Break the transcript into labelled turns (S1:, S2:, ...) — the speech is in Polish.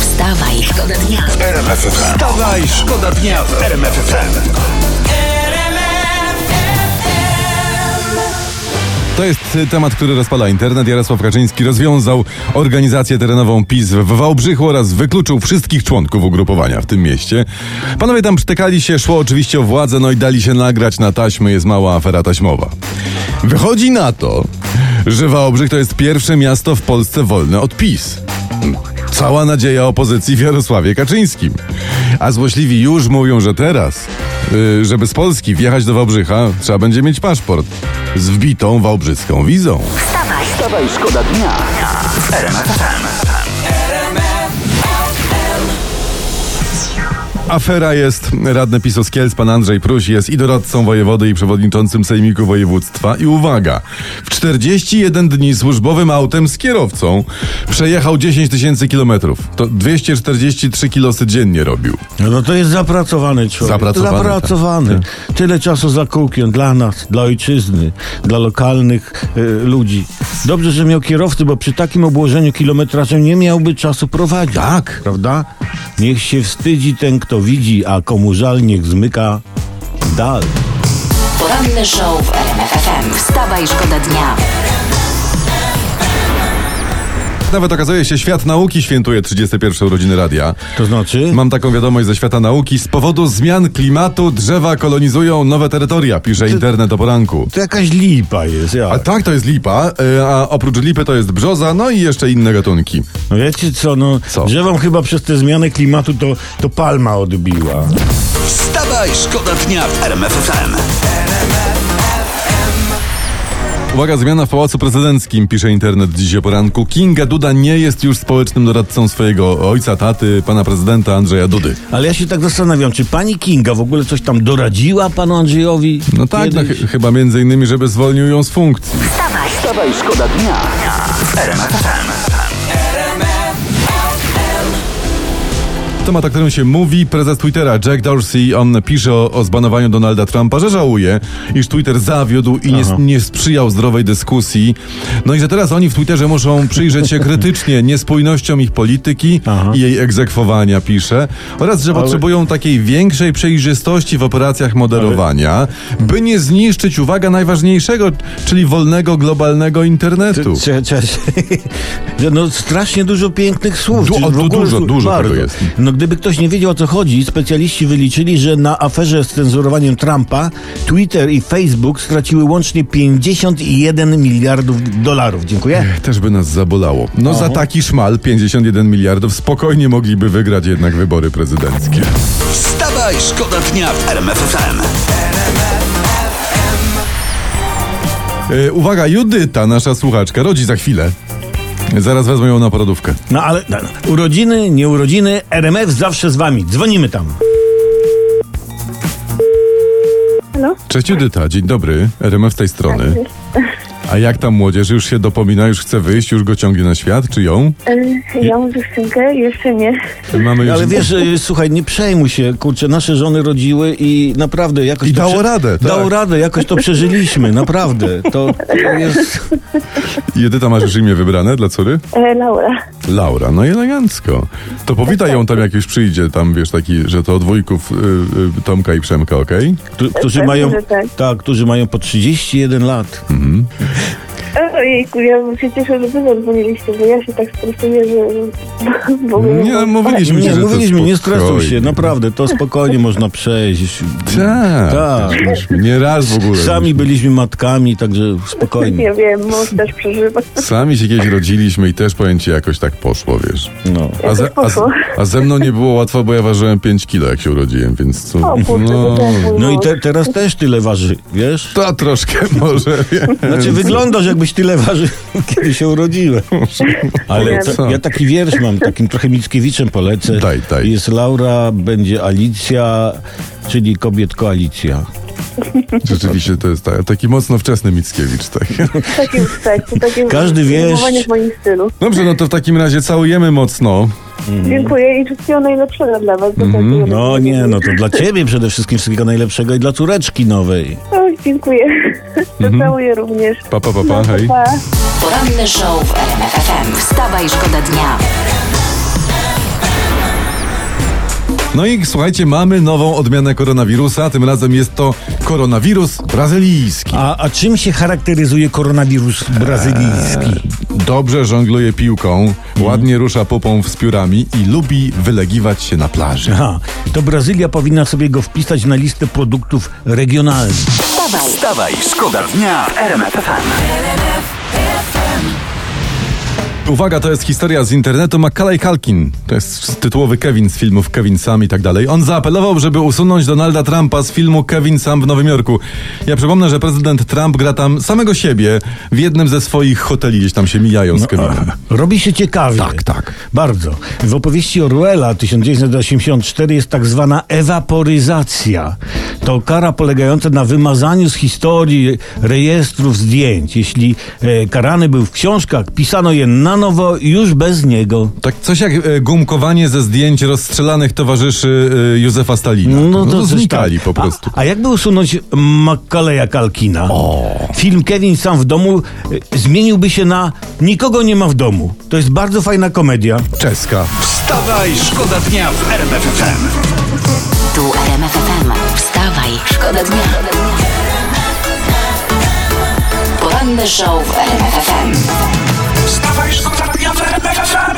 S1: Wstawaj, szkoda dnia.
S2: RMF FM. Wstawaj, szkoda dnia w RMF FM.
S3: To jest y, temat, który rozpala internet. Jarosław Kaczyński rozwiązał organizację terenową PiS w Wałbrzychu oraz wykluczył wszystkich członków ugrupowania w tym mieście. Panowie tam przytykali się, szło oczywiście o władzę, no i dali się nagrać na taśmy. Jest mała afera taśmowa. Wychodzi na to, że Wałbrzych to jest pierwsze miasto w Polsce wolne od PiS. Cała nadzieja opozycji w Jarosławie Kaczyńskim. A złośliwi już mówią, że teraz, y, żeby z Polski wjechać do Wałbrzycha, trzeba będzie mieć paszport z wbitą wałbrzyską wizą.
S2: Wstawaj, szkoda dnia w RMF FM.
S3: Afera jest. Radny PiS z Kielc, pan Andrzej Pruś jest i doradcą wojewody i przewodniczącym sejmiku województwa. I uwaga, w 41 dni służbowym autem z kierowcą przejechał 10 tysięcy kilometrów. To 243 kilosy dziennie robił.
S4: No to jest zapracowany człowiek.
S3: Zapracowany, tak.
S4: Zapracowany. Tyle czasu za kółkiem dla nas, dla ojczyzny, dla lokalnych e, ludzi. Dobrze, że miał kierowcy, bo przy takim obłożeniu kilometrażem nie miałby czasu prowadzić. Tak. Prawda? Niech się wstydzi ten, kto widzi, a komu żal niech zmyka dal.
S5: Poranny show w RMF FM. Wstawa i szkoda dnia.
S3: Nawet okazuje się, świat nauki świętuje 31 urodziny radia.
S4: To znaczy?
S3: Mam taką wiadomość ze świata nauki. Z powodu zmian klimatu drzewa kolonizują nowe terytoria, pisze internet o poranku.
S4: To jakaś lipa jest. Ja.
S3: A tak, to jest lipa, y, a oprócz lipy to jest brzoza, no i jeszcze inne gatunki.
S4: No wiecie co, no
S3: Co?
S4: drzewom chyba przez te zmiany klimatu to, to palma odbiła.
S2: Wstawaj, szkoda dnia w RMF FM.
S3: Uwaga, zmiana w Pałacu Prezydenckim, pisze internet dziś o poranku. Kinga Duda nie jest już społecznym doradcą swojego ojca, taty, pana prezydenta Andrzeja Dudy.
S4: Ale ja się tak zastanawiam, czy pani Kinga w ogóle coś tam doradziła panu Andrzejowi?
S3: No tak, no,
S4: Kiedyś?
S3: chy- chyba między innymi, żeby zwolnił ją z funkcji.
S2: Wstawaj, szkoda dnia w RMF FM.
S3: Temat, o którym się mówi, prezes Twittera Jack Dorsey, on pisze o, o zbanowaniu Donalda Trumpa, że żałuje, iż Twitter zawiódł i nie, nie sprzyjał zdrowej dyskusji. No i że teraz oni w Twitterze muszą przyjrzeć się krytycznie niespójnościom ich polityki i jej egzekwowania, pisze. Oraz, że potrzebują takiej większej przejrzystości w operacjach moderowania, by nie zniszczyć, uwaga, najważniejszego, czyli wolnego, globalnego internetu.
S4: Cze- cze- cze- No strasznie dużo pięknych słów.
S3: Du-
S4: Czy
S3: o,
S4: w
S3: du-
S4: ogóle
S3: dużo,
S4: słów?
S3: dużo tego
S4: Bardzo.
S3: jest.
S4: No gdyby ktoś nie wiedział o co chodzi, specjaliści wyliczyli, że na aferze z cenzurowaniem Trumpa Twitter i Facebook straciły łącznie 51 miliardów dolarów. Dziękuję.
S3: Tak Też by nas zabolało. No za taki szmal 51 miliardów spokojnie mogliby wygrać jednak wybory prezydenckie.
S2: Wstawaj, szkoda dnia w RMF FM.
S3: E, uwaga, Judyta, nasza słuchaczka, rodzi za chwilę. Zaraz wezmę ją na porodówkę.
S4: No ale no, no, urodziny, nie urodziny, RMF zawsze z wami. Dzwonimy tam.
S3: Cześć Judyta, dzień dobry, RMF z tej strony. A jak tam młodzież? Już się dopomina, już chce wyjść, już go ciągnie na świat, czy ją?
S6: E, Ja mam dziewczynkę, jeszcze nie.
S3: Mamy już...
S4: Ale wiesz, y, słuchaj, nie przejmuj się, kurczę, nasze żony rodziły i naprawdę jakoś
S3: I
S4: to
S3: dało radę, tak.
S4: Dało radę, jakoś to przeżyliśmy, naprawdę. To, to jest...
S3: Judyta, masz już imię wybrane dla córy?
S6: E, Laura.
S3: Laura, no i elegancko. To powitaj ją tam, jak już przyjdzie, tam wiesz, taki, że to od wujków y, y, Tomka i Przemka, okej?
S4: Któ- którzy
S6: Pewnie,
S4: mają,
S6: że tak.
S4: tak, którzy mają po 31 lat.
S6: E, Ojejku, ja bym się cieszę, że wy zadzwoniliście, bo ja się tak stresuję, że... Bo
S3: Nie, no, mówiliśmy ci,
S4: Nie,
S3: że to
S4: mówiliśmy, nie
S3: spokojnie.
S4: stresuj się, naprawdę, to spokojnie można przejść.
S3: Tak.
S4: Tak.
S3: Myśmy Nie raz w ogóle.
S4: Sami byliśmy matkami, także spokojnie.
S6: Nie wiem, mąż też przeżywa.
S3: Sami się kiedyś rodziliśmy i też pojęcie jakoś tak poszło, wiesz.
S4: No.
S3: A ze, a, z-
S6: poszło.
S3: a ze mną nie było łatwo, bo ja ważyłem 5 kilo, jak się urodziłem, więc co?
S6: O kurczę, to też mój
S4: No i
S6: mąż.
S4: te, teraz też tyle waży, wiesz?
S3: to troszkę może. Wiem.
S4: Znaczy wyglądasz jakbyś tyle tyle waży, kiedy się urodziłem. Ale
S6: Wiem.
S4: to, ja taki wiersz mam, takim trochę Mickiewiczem polecę.
S3: no. Daj, daj.
S4: Jest Laura, będzie Alicja, czyli kobiet koalicja.
S3: Rzeczywiście to jest ta- taki mocno wczesny Mickiewicz. Tak.
S6: W takim wsteczu, takim
S4: Każdy wie,
S6: wyjmowanie
S4: że-
S6: w moim stylu.
S3: Dobrze, no to w takim razie całujemy mocno.
S6: Dziękuję i wszystkiego najlepszego dla was. Mm,
S4: Mhm. No nie, no to dla ciebie przede wszystkim wszystkiego najlepszego i dla córeczki nowej.
S6: Oj, dziękuję.
S4: Mhm.
S6: Całuję również.
S3: Pa, pa, pa, pa,
S6: No,
S3: hej.
S6: pa.
S5: Poranny show w RMF FM. Wstawa i szkoda dnia.
S3: No i słuchajcie, mamy nową odmianę koronawirusa. Tym razem jest to koronawirus brazylijski.
S4: A, a czym się charakteryzuje koronawirus
S3: Eee.
S4: brazylijski?
S3: Dobrze żongluje piłką, ładnie rusza popą wspiórami i lubi wylegiwać się na plaży.
S4: Aha, to Brazylia powinna sobie go wpisać na listę produktów regionalnych.
S5: Wstawaj,
S2: Wstawaj, szkoda dnia w RMF FM.
S3: Uwaga, to jest historia z internetu. Macaulay Kalkin, to jest tytułowy Kevin z filmów Kevin Sam i tak dalej. On zaapelował, żeby usunąć Donalda Trumpa z filmu Kevin Sam w Nowym Jorku. Ja przypomnę, że prezydent Trump gra tam samego siebie w jednym ze swoich hoteli, gdzieś tam się mijają z Kevinem.
S4: Robi się ciekawie.
S3: Tak, tak.
S4: Bardzo. W opowieści Orwella 1984 jest tak zwana ewaporyzacja. To kara polegająca na wymazaniu z historii rejestrów zdjęć. Jeśli e, karany był w książkach, pisano je na nowo już bez niego.
S3: Tak coś jak e, gumkowanie ze zdjęć rozstrzelanych towarzyszy e, Józefa Stalina.
S4: No,
S3: No
S4: coś
S3: znikali
S4: tak.
S3: po prostu.
S4: A, a jakby usunąć Macaleja Kalkina? Film Kevin sam w domu e, zmieniłby się na Nikogo nie ma w domu. To jest bardzo fajna komedia.
S3: Czeska.
S2: Wstawaj, szkoda dnia w RMF FM.
S5: tu RMF FM. Wstawaj, szkoda dnia. Poranny show w RMF FM.
S2: Wstawaj, szkoda dnia w RMF FM.